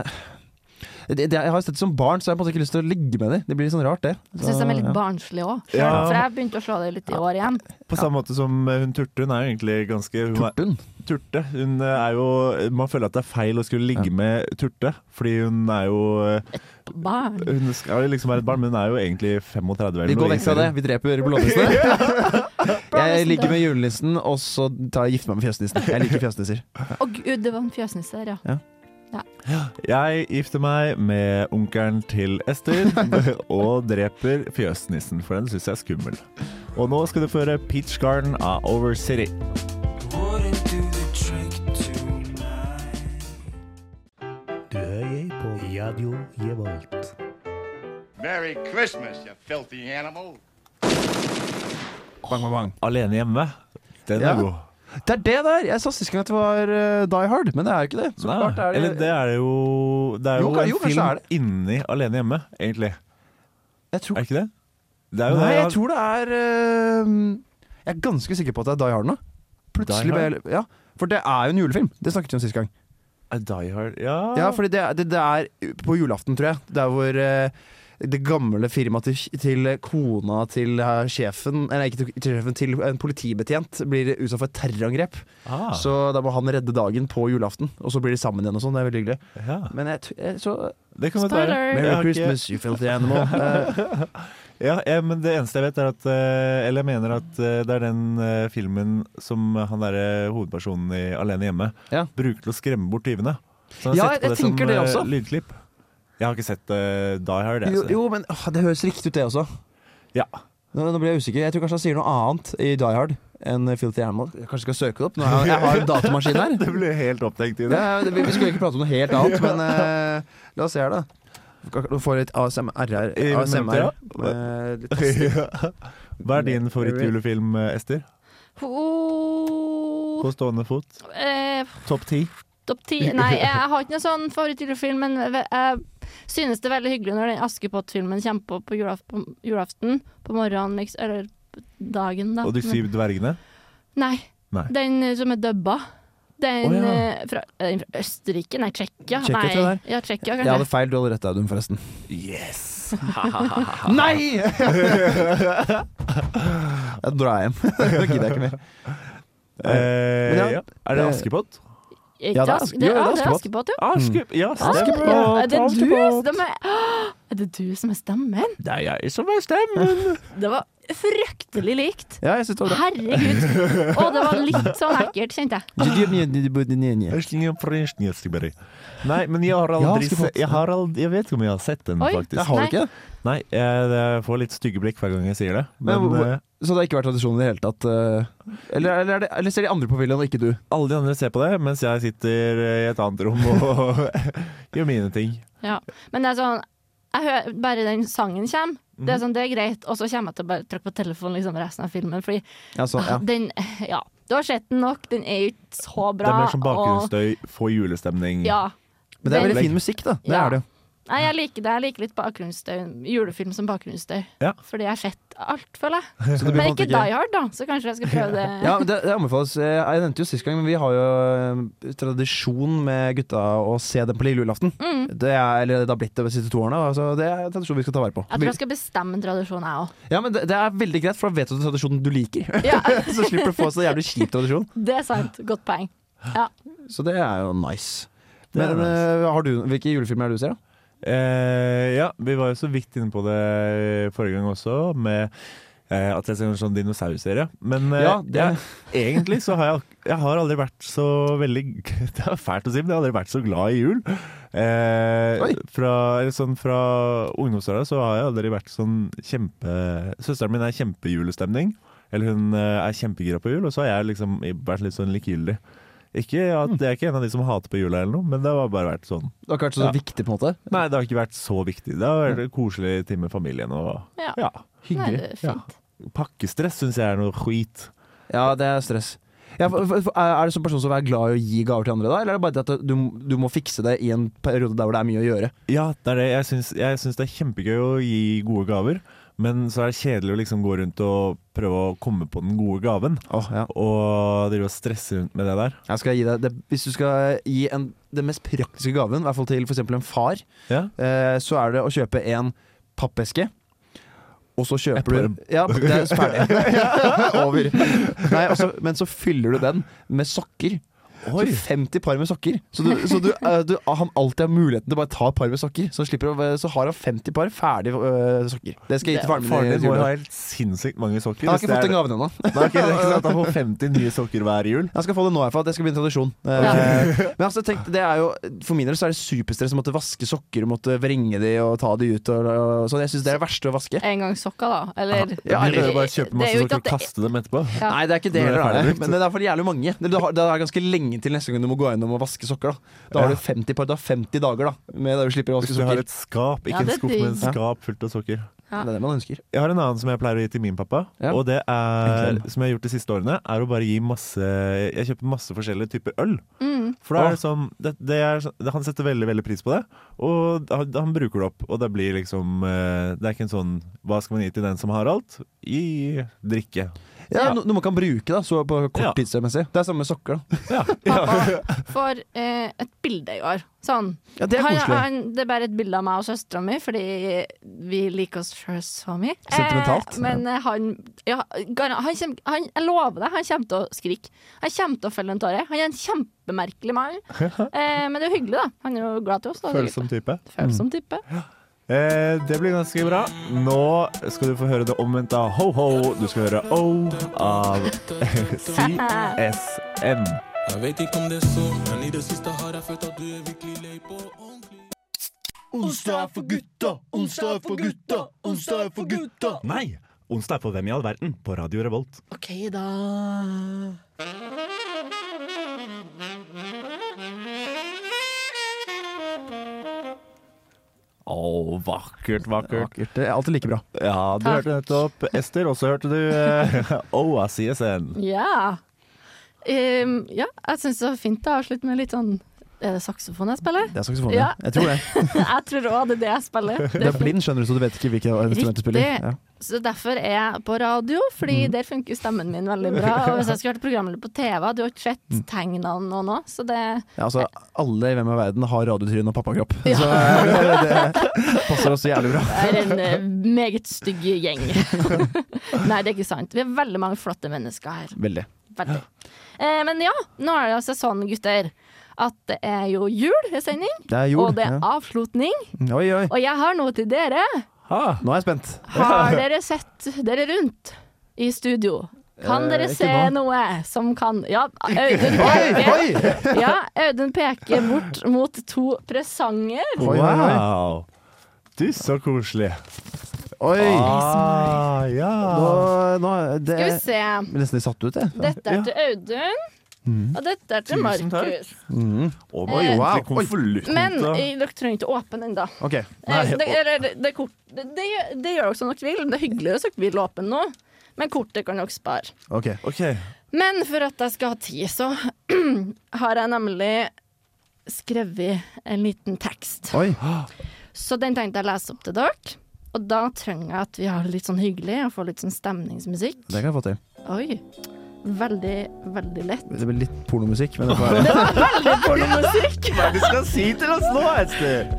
S5: det, det, Jeg har jo sett det som barn, så jeg har på en måte ikke lyst til å ligge med dem. Det blir litt sånn rart, det.
S3: Jeg syns de er litt barnslige òg,
S4: Ja.
S3: for jeg begynte å slå det litt i år igjen.
S4: på samme måte som eh, hun Turte. Hun er jo egentlig ganske hun er,
S5: Turten.
S4: Turte. Hun eh, er jo Man føler at det er feil å skulle ligge med Turte, fordi hun er jo eh,
S3: Barn.
S4: Hun skal jo liksom være et barn, men hun er jo egentlig 35 eller
S5: Vi
S4: noe
S5: går vekk
S4: i
S5: fra det.
S4: serien.
S5: Vi dreper
S4: <laughs>
S5: blånissene. Jeg
S3: Blånissen
S5: ligger
S3: dør.
S5: med julenissen, og så tar jeg gifter meg med fjøsnissen. Jeg liker fjøsnisser.
S3: Å gud, det var en fjøsnisse der, ja.
S4: Jeg gifter meg med onkelen til
S5: <laughs>
S4: Ester og dreper fjøsnissen, for den syns jeg er skummel. Og nå skal du få høre Peach Garden av Over City.
S6: Du hører på Radio Revolt.
S7: Merry Christmas, you filthy animal.
S4: Alene hjemme. Den
S5: Ja.
S4: er god.
S5: Det er det der! Jeg sa sist gang at det var eh, Die Hard, men det er jo ikke det. Så
S4: Nei,
S5: klart er det,
S4: Eller det er det jo Det er
S5: Jo,
S4: jo,
S5: ka- jo,
S4: en
S5: kanskje
S4: film
S5: er det.
S4: inni Alene hjemme, egentlig.
S5: jeg tror,
S4: Er det ikke det? Det er jo
S5: Nei,
S4: det. ja.
S5: jeg tror det er eh, Jeg er ganske sikker på at det er Die Hard nå. Plutselig
S4: Die
S5: ble
S4: Hard?
S5: jeg Ja, for det er jo en julefilm. Det snakket vi om sist gang.
S4: Er Die Hard Ja. Ah.
S5: Ja, fordi det, det, det er på julaften, tror jeg. Der hvor eh, det gamle firmaet til, til kona til eh, sjefen Eller ikke til, til sjefen, til en politibetjent blir utsatt for et terrorangrep.
S4: Ah,
S5: Så da må han redde dagen på julaften, og så blir de sammen igjen og sånn. Det er veldig hyggelig.
S4: ja.
S5: Men jeg, t- jeg så
S4: Det kan godt være.
S3: Spoiler!
S5: Merry
S4: Jeg har ikke-
S5: Christmas, you filthy
S4: <laughs>
S5: animal. Eh,
S4: Ja, jeg, men det eneste jeg vet er at eh, Eller jeg mener at eh, det er den eh, filmen som han derre hovedpersonen i Alene hjemme
S5: Ja.
S4: bruker til å skremme bort tyvene. Så han
S5: Ja,
S4: setter på
S5: jeg tenker det
S4: eh,
S5: også.
S4: lydklipp. Jeg har ikke sett eh, Die Hard. jeg,
S5: jo,
S4: så-
S5: jo, men åh, det høres riktig ut, det også.
S4: Ja.
S5: Nå, nå blir jeg usikker. Jeg tror kanskje han sier noe annet i Die Hard enn Filthy Animal. Jeg kanskje skal søke det opp. Nå har jeg, jeg har en datamaskin her.
S4: <laughs> Det ble helt opptenkt i det.
S5: Ja, det, vi vi skulle egentlig prate om noe helt annet, men eh, la oss se her, da. Du får litt ASMR her.
S4: I
S5: ASMR.
S4: minutter,
S5: eh, litt testing.
S4: <laughs> Ja. Hva er din favorittjulefilm, eh, Ester?
S3: Oh,
S4: På stående fot?
S3: eh,
S4: Topp ti?
S3: topp ti Nei, jeg har ikke noen sånn favorittjulefilm, men ve- jeg synes det er veldig hyggelig når den Askepott-filmen kommer på på julaf- på julaften. På morgenen, liksom. Eller dagen, da.
S4: Og De
S3: Men-
S4: syv dvergene?
S3: Nei.
S4: Nei.
S3: Den eh, som er dubba. Den
S4: Å, ja.
S3: eh, fra, eh, den fra Østerrike, nei, Tsjekkia.
S5: Tsjekkia,
S3: Nei,
S5: tror jeg
S3: ja, Tsjekkia,
S5: Jeg hadde
S3: kanskje.
S5: feil, du hadde rett, Audun, forresten.
S4: Yes! <laughs>
S5: Nei! jeg drar hjem. Nå gidder jeg ikke mer.
S4: Eh,
S5: Men ja,
S4: ja. Er det
S5: eh,
S4: Askepott?
S3: Er ikke
S5: Ja, det er
S3: Ask-
S5: Aske-
S3: det,
S5: jo,
S3: ja,
S5: det er
S3: det er Askepott, ja.
S4: Askepott! Ja,
S3: Askepott, ja. Er det du som er Åh, Er det du som er stemmen?
S4: Det er jeg som er stemmen!
S3: Det var fryktelig likt.
S5: Ja, jeg synes det var bra.
S3: Herregud. Og det var litt sånn ekkelt, kjente jeg.
S5: Ja,
S4: Nei, men jeg har
S5: Ja,
S4: aldri
S5: Askepott.
S4: sett jeg, har aldri, jeg vet ikke om jeg har sett den,
S3: Oi.
S4: faktisk.
S5: Har du ikke det?
S4: Nei, jeg, jeg får litt stygge blikk hver gang jeg sier det. Men,
S5: Men hvor-
S4: eh,
S5: Så det har ikke vært tradisjon i det hele tatt? eh, Eller, eller, er det, eller ser de andre på villaen, og ikke du?
S4: alle de andre ser på det, mens jeg sitter eh, i et annet rom og <laughs> gjør mine ting.
S3: Ja. Men det er sånn jeg hører, Bare den sangen kommer, det er, sånn, det er greit. Og så kommer jeg til å bare trykke på telefonen liksom, resten av filmen. Fordi
S5: Ja, sånn, ja.
S3: den Ja, du har sett den nok. Den er ikke så
S4: Det
S3: bra.
S4: er mer sånn som
S3: og-
S4: bakgrunnsstøy, få
S5: Mm.
S4: julestemning.
S3: Ja.
S5: Men det er
S3: Den-
S5: veldig fin musikk, da. Det
S3: Ja.
S5: er det.
S3: Nei, jeg liker det. Jeg liker litt bakgrunnsstøy. Julefilm som bakgrunnsstøy.
S4: Ja.
S3: Fordi jeg har sett alt, føler
S5: <laughs>
S3: jeg.
S5: Så det blir på
S3: Men
S5: en måte
S3: ikke Die Hard, da, så kanskje jeg skal prøve
S5: <laughs>
S3: det.
S5: Ja, men det, det anbefales. Eh, Jeg nevnte jo sist gang, men vi har jo eh, tradisjon med gutta å se dem på lille julaften.
S3: Mm.
S5: Det, er, eller, det har blitt det de siste to årene. Altså, det er en tradisjon vi skal ta vare på.
S3: Jeg tror jeg skal bestemme en tradisjon, jeg òg.
S5: Ja, men det, det er veldig greit, for da vet du tradisjonen du liker. <laughs>
S3: <laughs> Ja,
S5: så slipper du å få så jævlig kjip tradisjon.
S3: det er sant. Godt poeng. Ja.
S5: Så det er jo nice.
S4: Det er
S5: Men eh, har du, hvilke julefilmer er det du ser, da?
S4: Eh, ja, vi var jo så vidt inne på det eh, forrige gang også, med eh, at jeg ser en sånn dinosaurserie. Men eh,
S5: Ja, det-
S4: jeg, egentlig så har jeg, ak- jeg har aldri vært så veldig <laughs> Det er fælt å si, men jeg har aldri vært så glad i jul. Eh,
S5: Oi.
S4: fra eller sånn fra ungdomsåra så har jeg aldri vært sånn kjempe Søsteren min er kjempejulestemning. Eller hun eh, er kjempegira på jul, og så har jeg liksom vært litt sånn likegyldig. Ikke
S5: Mm.
S4: at Jeg er ikke en av de som hater på jula, eller noe, men det har bare vært sånn
S5: Det har ikke vært så,
S4: Ja.
S5: viktig, på en måte.
S4: Nei, det har ikke vært så viktig. Det har vært en koselig tid med familien. Og
S3: ja.
S4: ja,
S3: Nei, det
S5: Hyggelig.
S3: er fint.
S4: pakkestress syns jeg er noe skit.
S5: Ja, det er stress. Ja, for, for, for, er du som person som er glad i å gi gaver til andre, da? Eller er det bare det at du, du må fikse det i en periode der hvor det er mye å gjøre?
S4: Ja, det er det. Jeg syns, jeg syns det er kjempegøy å gi gode gaver, men så er det kjedelig å liksom gå rundt og prøve å komme på den gode gaven.
S5: Åh, ja.
S4: Og drive og stresse rundt med det der.
S5: Jeg skal gi deg det, Hvis du skal gi en, den mest praktiske gaven, i hvert fall til f.eks. en far,
S4: Ja.
S5: eh, så er det å kjøpe en pappeske. Og så kjøper
S4: Epler.
S5: du Ja, det er ferdig.
S4: <laughs>
S5: <laughs> Over. Nei, altså, men så fyller du den med sokker.
S4: Oi.
S5: Så 50 par med sokker. Så, du, så du, eh, du, han alltid har muligheten til å bare ta et par med sokker. Så, han slipper, å- eh, så har han 50 par ferdig eh, sokker. Det skal jeg gi til faren min.
S4: Faren
S5: i
S4: din må jo
S5: julegave.
S4: ha helt sinnssykt mange sokker.
S5: Jeg har ikke
S4: hvis
S5: fått
S4: det
S5: den
S4: er-
S5: gaven ennå.
S4: <laughs> Nei, ok, det er ikke sant, Han får 50 nye sokker hver jul.
S5: Jeg skal få det nå, i hvert fall. Det skal bli en tradisjon. Eh, <laughs> Men altså, tenk, det er jo, for min del så er det superstress å måtte vaske sokker, måtte vrenge de og ta de ut. Og, og sånn. Jeg syns det er det verste å vaske.
S3: En gang sokka, da. Eller
S5: Ja,
S4: Du kan jo
S3: Det
S4: bare
S3: er
S4: kjøpe masse
S3: jo
S5: sånn
S3: ikke
S4: sokker
S3: at
S4: og kaste dem etterpå.
S3: Ja.
S5: Nei, det er ikke det
S4: Når det er
S5: heller, er det.
S4: ferdig brukt.
S5: men det er for jævlig mange. Det det har- det er ganske lenge til neste gang du må gå gjennom og vaske sokker. Da Da har du 50 par, du har 50 dager da med der du slipper å vaske
S4: Hvis du har
S5: sokker.
S4: et skap, ikke
S3: Ja, det
S4: en
S3: er
S4: skuff, men en
S3: digg.
S4: skap fullt av sokker.
S3: Ja.
S5: Det er det man ønsker.
S4: Jeg har en annen som jeg pleier å gi til min pappa.
S5: Ja.
S4: Og det er, som jeg har gjort de siste årene, er å bare gi masse Jeg kjøper masse forskjellige typer øl. For da er det sånn det, det er, sånn- det, Han setter veldig veldig pris på det, og han, han bruker det opp. Og det blir liksom eh, Det er ikke en sånn Hva skal man gi til den som har alt? Gi drikke.
S5: Ja, no, noe man kan bruke da, så på kort
S4: Ja.
S5: tidsmessig. Det er samme med sokker. da
S3: Pappa får eh, et bilde i år. Sånn.
S5: Ja, Det er
S3: han,
S5: koselig.
S3: han, det er bare et bilde av meg og søstera mi, fordi vi liker oss sjøl så mye.
S5: Sentimentalt.
S3: Eh, men eh, han, ja, gar- han, kjem, han Jeg lover deg, han kommer til å skrike. Han kommer til å felle en tåre. Han er en
S5: <laughs>
S3: kjempemerkelig mann. Eh, men det er jo hyggelig, da. Han er jo glad til oss. da. Det er
S4: Følsom type.
S5: Mm.
S3: hyggelig. Følsom type.
S4: Eh, det blir ganske bra. Nå skal du få høre det omvendte av ho-ho. Du skal høre O av <laughs> CSM.
S8: Jeg vet ikke om det er så, men i det siste har jeg følt at du er virkelig lei på ordentlig.
S6: Onsdag for gutta, onsdag for gutta, onsdag for gutta.
S1: Nei! Onsdag er for Hvem i all verden på Radio Revolt.
S8: Ok, da.
S4: Å, vakkert, vakkert.
S5: Vakkert. Det er alltid like bra.
S4: Ja, du
S3: Takk.
S4: hørte nettopp Ester, og så hørte du eh, <laughs> O av CSM.
S3: Ja. Ehm, ja, jeg syns det var fint å avslutte med litt sånn Er det saksofon jeg spiller? <laughs>
S5: Det er saksofon,
S3: Ja.
S5: ja. Jeg tror
S3: <laughs>
S5: det.
S3: jeg tror òg det er det jeg spiller.
S5: Du er blind, skjønner du, så du vet ikke hvilket instrument du spiller.
S3: Riktig.
S5: Ja. Mm.
S3: Så derfor er jeg på radio, fordi der funker stemmen min veldig bra. Og hvis jeg skulle vært programleder på TV, hadde jeg jo ikke sett
S5: Mm.
S3: tegnene nå nå, så det
S5: Ja, altså, alle i Hvem er verden har radiotryn og pappakropp, så <laughs> eh, det passer oss så jævlig bra.
S3: er en eh, meget stygg
S5: <laughs>
S3: gjeng. Nei, det er ikke sant. Vi er veldig mange flotte mennesker her.
S5: Veldig.
S3: Veldig. Eh, men ja, nå er det altså sånn, gutter, at det er jo jul i sending,
S5: Det er jord.
S3: og det er
S5: ja.
S3: avslutning.
S5: Oi, oi.
S3: Og jeg har noe til dere.
S5: Nå er jeg spent. <laughs>
S3: Har dere sett dere rundt i studio? Kan
S5: Eh,
S3: dere
S5: ikke
S3: se
S5: nå.
S3: noe som kan
S5: <laughs>
S3: Ja, Audun peker, ja, Audun peker bort mot to presanger.
S5: Oi, oi, oi.
S4: Wow! Du, så koselig.
S5: Oi!
S4: Ah,
S5: Nå,
S4: ja.
S5: nå det,
S3: Skal vi se.
S5: Jeg ble nesten litt satt ut, jeg.
S3: Dette er til Audun,
S5: Mm.
S3: og dette er til
S4: Tusen takk.
S3: Markus.
S4: Og
S3: Eh,
S4: var
S5: wow.
S4: ordentlig konvolutt.
S3: Men eh, dere trenger ikke åpne ennå.
S5: Ok.
S3: Eh, Det, eller, det, det, kort- det, det, gjør- det gjør dere som dere vil. Det er hyggelig hvis dere vil åpne nå, men kortet kan dere spare.
S5: ok
S4: OK.
S3: Men for at jeg skal ha tid, så <clears throat> har jeg nemlig skrevet en liten tekst.
S5: Oi.
S3: Så den tenkte jeg å lese opp til dere. Og da trenger jeg at vi har det litt sånn hyggelig og får litt sånn stemningsmusikk.
S5: Det kan jeg få til.
S3: Oi. Veldig, veldig lett.
S5: Det blir litt pornomusikk, men det
S3: <laughs>
S5: får være.
S3: Pornomusikk!
S4: Hva er det du skal si til oss nå, Ester?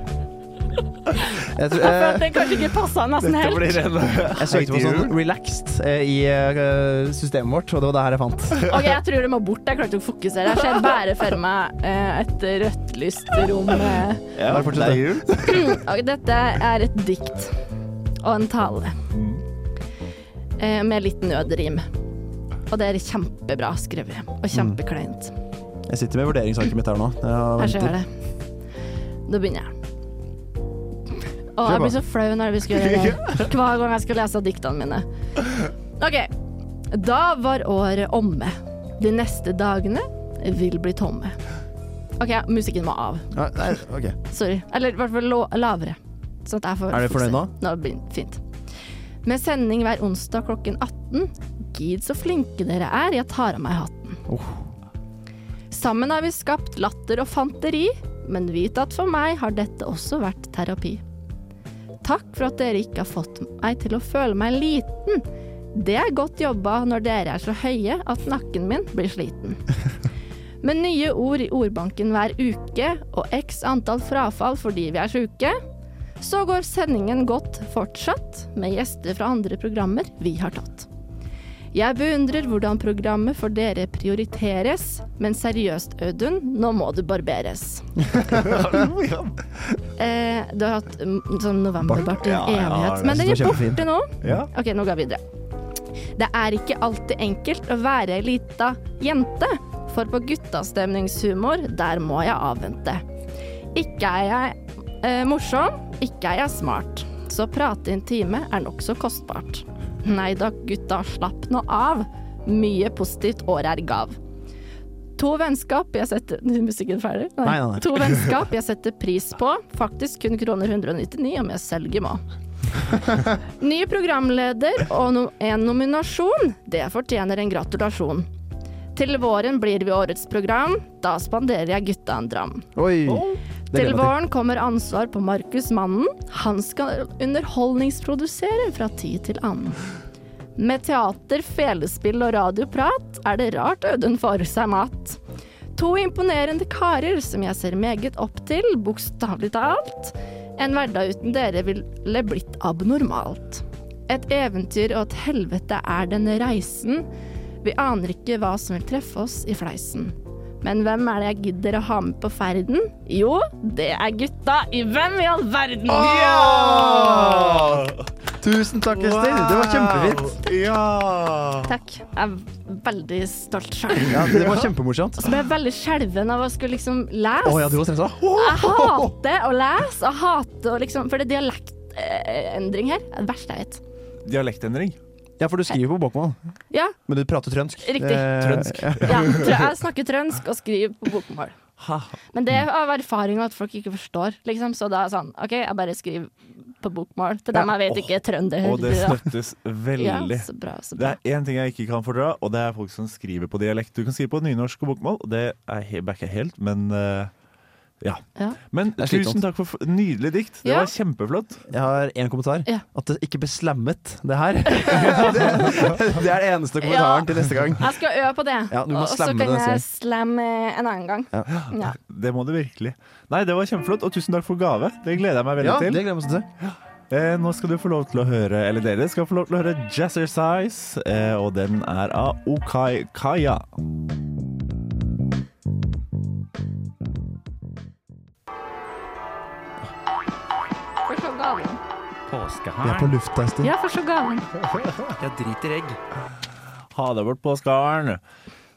S5: Jeg, tror-
S3: For at
S5: eh,
S3: den kanskje ikke passet nesten
S4: Dette
S3: helt.
S4: blir en
S5: jeg søkte på sånn relaxed eh, i eh, systemet vårt, og det var det her jeg fant.
S3: Ok, jeg tror det må bort. Jeg klarte ikke å fokusere. Jeg ser bare for meg eh, et rødt lyst rom. eh.
S4: ja,
S5: Bare
S4: det
S5: fortsett,
S4: er
S5: da.
S4: jul.
S3: Og dette er et dikt og en tale. Eh, med litt nødrim. Og det er kjempebra skrevet. Og kjempekleint.
S5: Jeg sitter med vurderingsarket mitt her nå. Jeg
S3: Her ser jeg det. Da begynner jeg. Å, jeg blir så flau når vi skal gjøre det. Hver gang jeg skal lese diktene mine. OK. Da var året omme. De neste dagene vil bli tomme. OK, musikken må av.
S5: Ja, nei, ok.
S3: Sorry. Eller i hvert fall lå- lavere. Sånn at jeg får
S5: Er du fornøyd nå?
S3: Nå blir det fint. Med sending hver onsdag klokken 18. Gid så flinke dere er, jeg tar av meg hatten.
S5: Oh.
S3: Sammen har vi skapt latter og fanteri, men vit at for meg har dette også vært terapi. Takk for at dere ikke har fått meg til å føle meg liten. Det er godt jobba når dere er så høye at nakken min blir sliten. Med nye ord i ordbanken hver uke og x antall frafall fordi vi er sjuke, så går sendingen godt fortsatt med gjester fra andre programmer vi har tatt. Jeg beundrer hvordan programmet for dere prioriteres, men seriøst, Audun, nå må du
S4: <laughs>
S3: barberes. eh, du har hatt mm, sånn novemberbart i en
S4: Ja, ja,
S3: evighet,
S4: det
S3: men den
S5: synes
S3: er
S5: jeg var kjempefin.
S3: borte nå.
S4: Ja.
S3: Ok, nå går jeg videre. Det er ikke alltid enkelt å være ei lita jente, for på guttastemningshumor, der må jeg avvente. Ikke er jeg eh, morsom, ikke er jeg smart, så prate i en time er nokså kostbart. Nei da, gutta, slapp nå av. Mye positivt året er gav. To vennskap jeg setter <laughs> Er musikken ferdig?
S5: Nei, nei, nei. <laughs>
S3: To vennskap jeg setter pris på, faktisk kun kroner 199 om jeg selger
S5: <laughs>
S3: må. Ny programleder og no en nominasjon, det fortjener en gratulasjon. Til våren blir vi årets program, da spanderer jeg gutta en dram.
S5: Oi. Det gleder jeg
S3: Til
S5: meg
S3: våren kommer ansvar på Markus Mannen. Han skal underholdningsprodusere fra tid til annen. Med teater, felespill og radioprat er det rart Audun får seg mat. To imponerende karer som jeg ser meget opp til, bokstavelig talt. En hverdag uten dere ville blitt abnormalt. Et eventyr og et helvete er denne reisen. Vi aner ikke hva som vil treffe oss i fleisen. Men hvem er det jeg gidder å ha med på ferden? Jo, det er gutta i Hvem i all verden?
S5: Ah!
S3: Ah!
S5: Tusen takk, Kristin. Det var kjempefint.
S4: Ja!
S3: Takk. Jeg er veldig stolt sjøl.
S5: <laughs> Ja, det var kjempemorsomt.
S3: Så ble jeg veldig skjelven av å skulle liksom lese.
S5: Å ja, du var stressa?
S3: Jeg hater å lese. Jeg hater å liksom For det er dialektendring her. Det er det verste jeg vet.
S4: Dialektendring.
S5: Ja, for du skriver på bokmål,
S3: Ja,
S5: men du prater trønsk.
S3: Riktig.
S5: Eh,
S4: Trønsk.
S5: ja.
S3: ja. trø- Jeg snakker trønsk og skriver på bokmål.
S5: Ha.
S3: Men det er av erfaring at folk ikke forstår, liksom. Så da er det sånn OK, jeg bare skriver på bokmål til dem jeg vet ikke er trønder.
S4: Og det støttes
S3: Eh, <laughs> ja,
S4: veldig.
S3: så bra, så
S4: Det
S3: bra.
S4: er én ting jeg ikke kan fordra, og det er folk som skriver på dialekt. Du kan skrive på nynorsk og bokmål, og det er he- backer jeg helt, men eh, ja.
S3: Ja.
S4: Men
S5: er slitsomt.
S4: tusen takk for f- nydelig dikt. Det
S3: Ja.
S4: var kjempeflott.
S5: Jeg har én kommentar.
S3: Ja.
S5: At det ikke ble slammet, det
S3: <laughs>
S5: her. det, det er den eneste kommentaren
S3: Ja.
S5: til neste gang.
S3: Jeg skal øve på det,
S5: Ja, du må
S3: og så
S5: slamme
S3: kan
S5: det selv.
S3: jeg slamme en annen gang.
S5: Ja.
S3: Ja.
S4: Det må du virkelig. Nei, det var kjempeflott, og tusen takk for gave. Det gleder jeg meg veldig
S5: Ja, det
S4: til.
S5: gleder jeg meg sånn til.
S4: Eh, nå skal du få lov til å høre, eller dere skal få lov til å høre Jazzercise, eh, og den er av Okai Kaya.
S3: Få se gaven.
S5: Vi er på lufta en stund.
S3: Ja, få se gaven.
S4: Ha deg bort på skaren.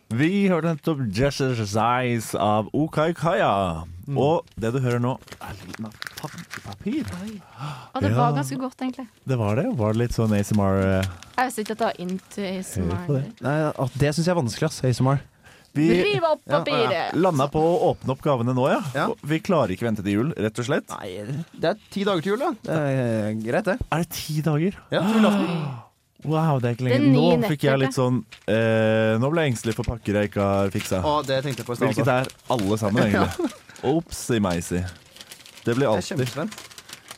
S4: Vi hørte nettopp Jazzercise av Okai Kaya. Og det du hører nå, er lyden av pakkepapir.
S3: Og det var ganske godt, egentlig.
S4: Det var det. Var det litt sånn ASMR? eh?
S3: Jeg visste ikke at det var into
S4: Hører på
S3: ASMR.
S4: det.
S5: Nei, at det syns jeg er vanskelig, ass. ASMR.
S4: Vi
S3: Riv opp papiret!
S4: landa på å åpne opp gavene nå, ja.
S5: Ja.
S4: Og Vi klarer ikke vente til jul, rett og slett.
S5: Nei, det er ti dager til jul, da. Det er greit, det.
S4: Er det ti dager?
S5: Ja, julaften.
S4: Wow, det er ikke
S3: Det er
S4: lenge.
S3: ni
S4: Nå fikk jeg
S3: netter,
S4: litt sånn eh, Nå ble jeg engstelig for pakker jeg ikke har fiksa.
S5: Å, det tenkte jeg på i stad.
S4: Hvilket
S5: altså.
S4: er alle
S5: <laughs>
S4: sammen, egentlig. Opsi meisi. Det blir
S5: Jeg er
S4: alltid
S5: kjempespent.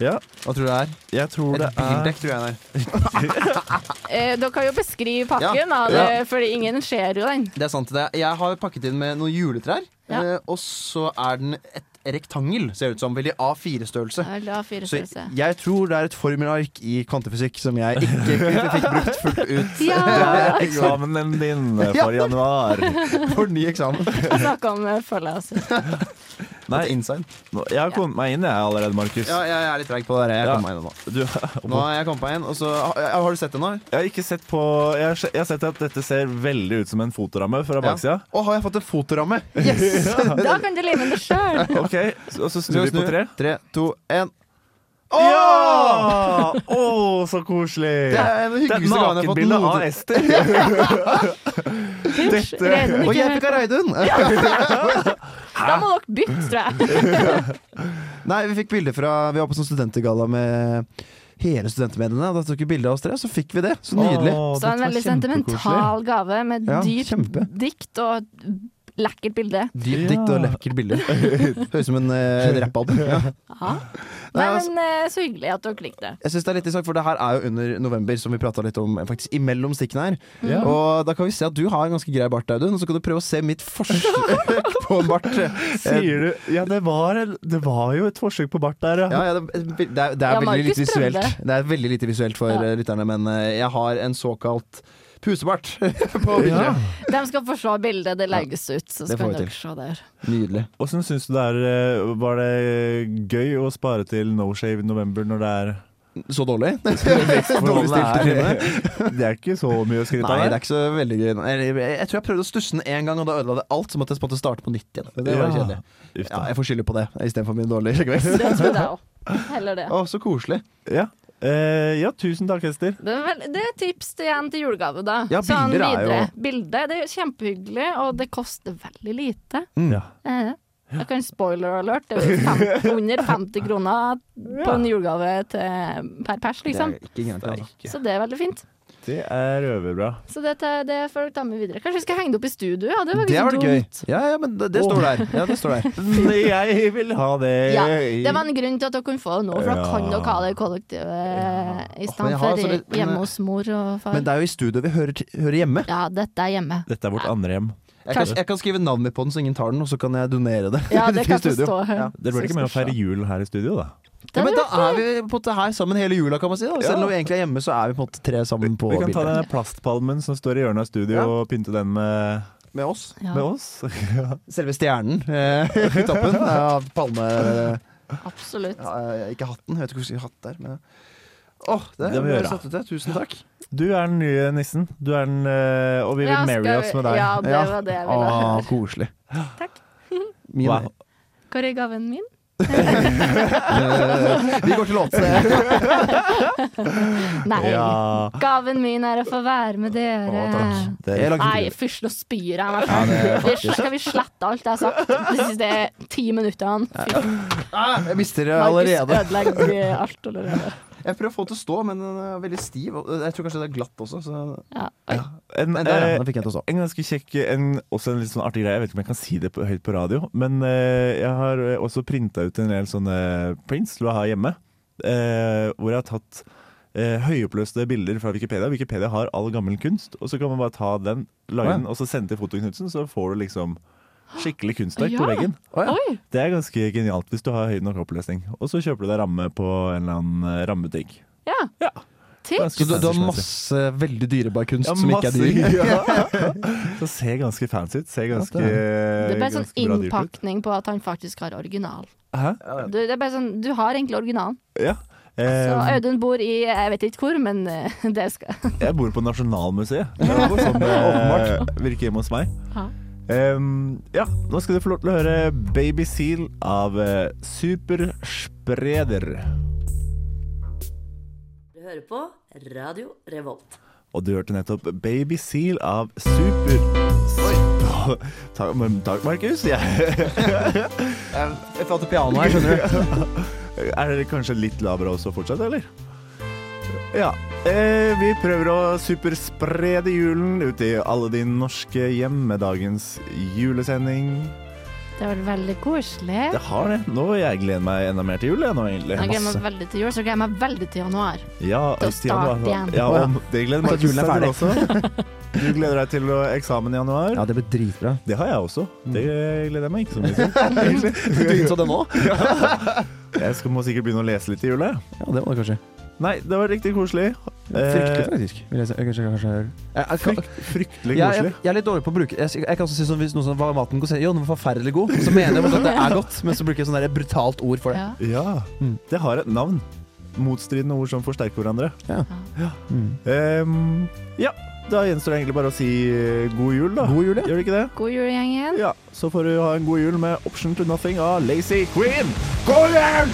S4: Ja,
S5: Hva tror du det er?
S4: jeg tror det
S5: Et
S4: er
S5: bildekk, tror jeg det er.
S3: Eh, dere kan jo beskrive
S5: Ja.
S3: pakken, da, det, fordi ingen ser jo den.
S5: Det er sant. Det er, jeg har pakket inn med noen juletrær,
S3: Ja.
S5: eh, og så er den et rektangel, ser det ut som. Veldig A4-størrelse.
S3: La fire
S5: Så
S3: størrelse.
S5: jeg tror det er et formelark i kvantefysikk som jeg ikke fikk <laughs> brukt fullt ut
S3: Ja!
S4: eksamenen din
S5: <laughs>
S4: eh, for januar.
S5: for ny eksamen.
S3: Jeg snakka om eh, følge, altså.
S4: Nei,
S5: Et inside.
S4: nå- jeg har kommet meg inn, jeg allerede, Markus.
S5: Ja, jeg er litt treig på det der. Jeg
S4: Ja.
S5: kom meg inn nå.
S4: Du, <laughs>
S5: Nå har jeg kommet meg inn, og så ja, Har du sett den nå?
S4: jeg har ikke sett på jeg har, se- jeg har sett at dette ser veldig ut som en fotoramme fra baksida.
S5: Å, har jeg fått en fotoramme?
S4: <laughs>
S5: Yes!
S3: Da kan du leve med det sjøl!
S4: Ok, så- og så snur vi på tre.
S5: Tre, to, én.
S4: Ja! Å, så
S5: Det
S4: koselig!
S5: er en av de
S4: Det er et
S5: hyggeligste gaven jeg har fått
S4: nakenbilde av
S5: noen
S4: Ester.
S5: <laughs>
S4: Dette
S5: Og jeg fikk av Reidun!
S4: <laughs>
S3: Da må dere bytte, tror jeg.
S5: <laughs> Nei, vi fikk bilder fra Vi var på sånn studentergalla med hele studentmediene. og Da tok vi bilde av oss tre, og så fikk vi det. Så nydelig.
S4: Å,
S3: Så en
S4: dette var
S3: veldig
S4: kjempekoselig.
S3: sentimental gave med
S5: Ja,
S3: dyrt
S5: kjempe.
S3: dikt og et lekkert bilde.
S5: Dypt dikt og lekkert bilde. <laughs> Høres ut som en uh, rappalbum. <laughs> Ja.
S3: Ja. Nei,
S5: Nei, altså-
S3: men eh, så hyggelig at dere likte det.
S5: Jeg synes det er litt interessant, for det her er jo under november, som vi prata litt om eh, faktisk imellom stikkene her.
S4: Ja.
S5: Og da kan vi se at du har en ganske grei bart, Audun, og så kan du prøve å se mitt forsøk på en <laughs> bart. Eh,
S4: Sier du Ja, det var, en- det var jo et forsøk på bart der,
S5: Ja, ja, det, det er, det er
S3: Ja,
S5: veldig
S3: Markus
S5: lite
S3: prøvde.
S5: visuelt. Det er veldig lite visuelt for
S3: Ja.
S5: eh, lytterne, men eh, jeg har en såkalt pusebart <laughs> på bildet.
S3: De skal få se bildet, det legges ut, så
S5: det får
S3: skal
S5: vi til.
S3: dere se der.
S5: Nydelig.
S4: Åssen syns du det er eh, Var det gøy å spare til No Shave November når det er
S5: Så dårlig? <laughs>
S4: Hvordan
S5: Dårlig stilt i
S4: det
S5: trynet?
S4: er? <laughs> Det er ikke så mye å skryte
S5: Nei, det
S4: av.
S5: er ikke så veldig gøy. Nei, Jeg, jeg tror jeg prøvde å stusse den én gang, og da ødela det alt. Så måtte jeg på en måte starte på nytt igjen. Det var
S4: Ja.
S5: kjedelig.
S4: Uff
S5: Ja,
S4: da.
S5: jeg får skylde på det istedenfor min dårlige
S3: <laughs>
S5: skjeggvekst.
S3: Det tror jeg òg. Heller det.
S5: Å, så koselig.
S4: Ja. Eh, ja, tusen takk, Ester.
S3: Det er, vel, det er tips til igjen til julegave, da. Sånn
S5: Ja, bilder er jo-
S3: Bilde, det er kjempehyggelig, og det koster veldig lite.
S5: Mm.
S4: Ja.
S3: Eh, Jeg kan spoiler alert, det er jo fem- under 50 kroner på en julegave til, per pers, liksom.
S5: ikke greit, altså.
S3: Så det er veldig fint.
S4: Det er
S5: <laughs>
S4: røverbra.
S3: Så det, tar- det får dere ta med videre. Kanskje vi skal henge det opp i studio? Ja, det var
S5: Det
S3: ikke
S5: var
S3: så
S5: det gøy.
S3: dumt.
S5: Ja, ja, men det, det står der. Ja, det står der.
S4: Jeg vil ha det
S3: Ja, det var en grunn til at dere kunne få det nå, for da kan
S4: Ja.
S3: dere ha det i kollektivet i
S5: Men
S3: stedet
S5: jeg har
S3: for
S5: altså litt-
S3: hjemme hos mor og
S5: Men
S3: far.
S5: det er jo i studio vi hører, til- hører hjemme.
S3: Ja, dette er
S5: <laughs>
S3: hjemme.
S4: Dette er vårt andre hjem.
S5: Jeg kan, jeg kan skrive navnet mitt på den, så ingen tar den, og så kan jeg donere det.
S3: Ja, det
S5: til
S3: kan jeg
S5: studio.
S3: forstå.
S5: Ja.
S4: Dere blir ikke med å feire jul her i studio, da?
S5: Ja,
S3: Det
S5: men da
S3: hadde vært
S5: er vi på en måte her sammen hele jula, kan man si. Da. Selv
S4: Ja.
S5: om vi egentlig er hjemme, så er vi på en måte tre sammen på
S4: Vi kan ta
S5: bildet.
S4: den plastpalmen som står i hjørnet av studio
S5: Ja.
S4: og pynte den med,
S5: Med oss.
S3: Ja,
S4: med oss. <laughs>
S5: Selve stjernen eh, <laughs> i toppen av palme...
S3: absolutt.
S5: Ja, eh, ikke hatten, jeg vet ikke hvor jeg skal hatt der. Men... Åh, det,
S4: Det må
S5: ble
S4: gjøre.
S5: satt ut det. Tusen takk.
S4: Du er den nye nissen, du er den, eh, og vi vil
S3: Ja, skal
S4: marry oss
S3: vi-
S4: med deg.
S3: Ja, det
S5: Ja.
S3: var det jeg ville
S5: Ah,
S3: høre.
S5: <laughs> koselig.
S3: Takk.
S5: <laughs> Min,
S4: Wow.
S3: Hvor er gaven min?
S5: <laughs> Vi går til <laughs> låt. Å,
S3: Nei,
S4: Ja.
S3: gaven min er å få være med dere.
S4: Det
S5: Jeg
S4: er
S5: lagde
S3: Nei, først nå spyr jeg meg.
S5: Ja, det er
S3: Vi- Skal vi slette alt jeg har sagt de siste ti minuttene? Fy,
S5: Ah, Jeg mister det
S3: Markus
S5: allerede.
S3: ødelegger alt allerede.
S5: Jeg prøver å få den til å stå, men den er veldig stiv. og Jeg tror kanskje det er glatt også. Så...
S3: Ja, oi.
S4: en,
S5: Men der, ja.
S4: eh,
S5: Den fikk jeg til å stå.
S4: en ganske kjekk en, Også en litt sånn artig greie, jeg vet ikke om jeg kan si det på, høyt på radio Men eh, jeg har eh, også printet ut en del sånne prints til å ha hjemme eh, Hvor jeg har tatt eh, høyoppløste bilder fra Wikipedia Wikipedia har all gammel kunst Og så kan man bare ta den,
S5: Å
S4: lage
S5: ja.
S4: den Og så sende til fotoknutsen Så får du liksom skikkelig kunstverk
S3: Ja.
S4: på veggen
S5: Å, ja.
S3: Oi,
S4: Det er ganske genialt hvis du har høy nok oppløsning Og så kjøper du deg ramme på en eller annen eh, rammebutikk
S3: ja.
S4: Ja.
S3: Tips.
S5: Så du, du har
S4: fancy-schmancy.
S5: masse veldig dyrebar kunst
S4: Ja,
S5: som ikke er
S4: masse-
S5: dyr? <laughs>
S4: <laughs> Så ser ganske fancy ut. Ser ganske, eh,
S5: Ja, det
S3: Det er bare sånn
S4: ganske bra dyrt ut.
S3: innpakning på at han faktisk har original.
S4: Hæ?
S3: Du, det er bare sånn, du har egentlig originalen.
S4: Ja.
S3: Så
S4: Eh,
S3: Audun bor i jeg vet ikke hvor, men eh, <laughs> det skal
S4: jeg bor på Nasjonalmuseet. Det er noe sånn eh, virker hjemme hos meg.
S3: Ja.
S4: Em, ja, nå skal du få lov til å høre Baby Seal av eh, Superspreder.
S9: Du hører på Radio Revolt.
S4: Og du hørte nettopp Baby Seal av Super... Oi. <laughs> Takk, takk, Markus.
S5: <laughs>
S4: Jeg
S5: Jeg fant et piano her, skjønner
S4: <laughs>
S5: du.
S4: Er dere kanskje litt lavere også fortsatt, eller? Ja. Eh, vi prøver å supersprede julen ut i alle de norske hjem med dagens julesending.
S3: Det var veldig koselig.
S4: Det har det. Nå Jeg gleder meg enda mer til jul, jeg nå, egentlig.
S3: Jeg gleder
S4: Masse.
S3: meg veldig til jul, så gleder jeg meg veldig til januar.
S4: Ja,
S3: til å
S4: i januar.
S3: starte igjen.
S4: Ja, om, det gleder meg
S5: At julen er
S4: til også. Du gleder deg til å- eksamen i januar.
S5: Ja, det blir dritbra.
S4: Det har jeg også. Det gleder jeg meg ikke så
S5: <laughs>
S4: mye til.
S5: Du innså det nå?
S4: Jeg skal, må sikkert begynne å lese litt i jula. jeg.
S5: Ja, det var det kanskje.
S4: Nei, det var riktig koselig.
S5: Fryktelig,
S4: Eh,
S5: faktisk. Vil jeg si. Jeg kanskje, kanskje jeg, jeg, eh, kan-
S4: frykt, fryktelig
S5: jeg,
S4: koselig.
S5: jeg, jeg er litt dårlig på å bruke Jeg, jeg kan også si sånn Hvis noen sånn Var maten god? Så sier jeg, Jo, den var forferdelig god. Så mener jeg at det er godt, men så bruker jeg sånn der brutalt ord for det.
S3: Ja.
S4: Ja,
S5: Mm.
S4: det har et navn. Motstridende ord som forsterker hverandre.
S5: Ja. Mm.
S4: Ehm, ja, da gjenstår det egentlig bare å si eh, god jul, da.
S5: God jul, ja.
S4: Gjør det ikke det?
S3: God jul, gjengen.
S4: Ja, Så får du ha en god jul med 'Option to Nothing' av Lazy Queen. God jul!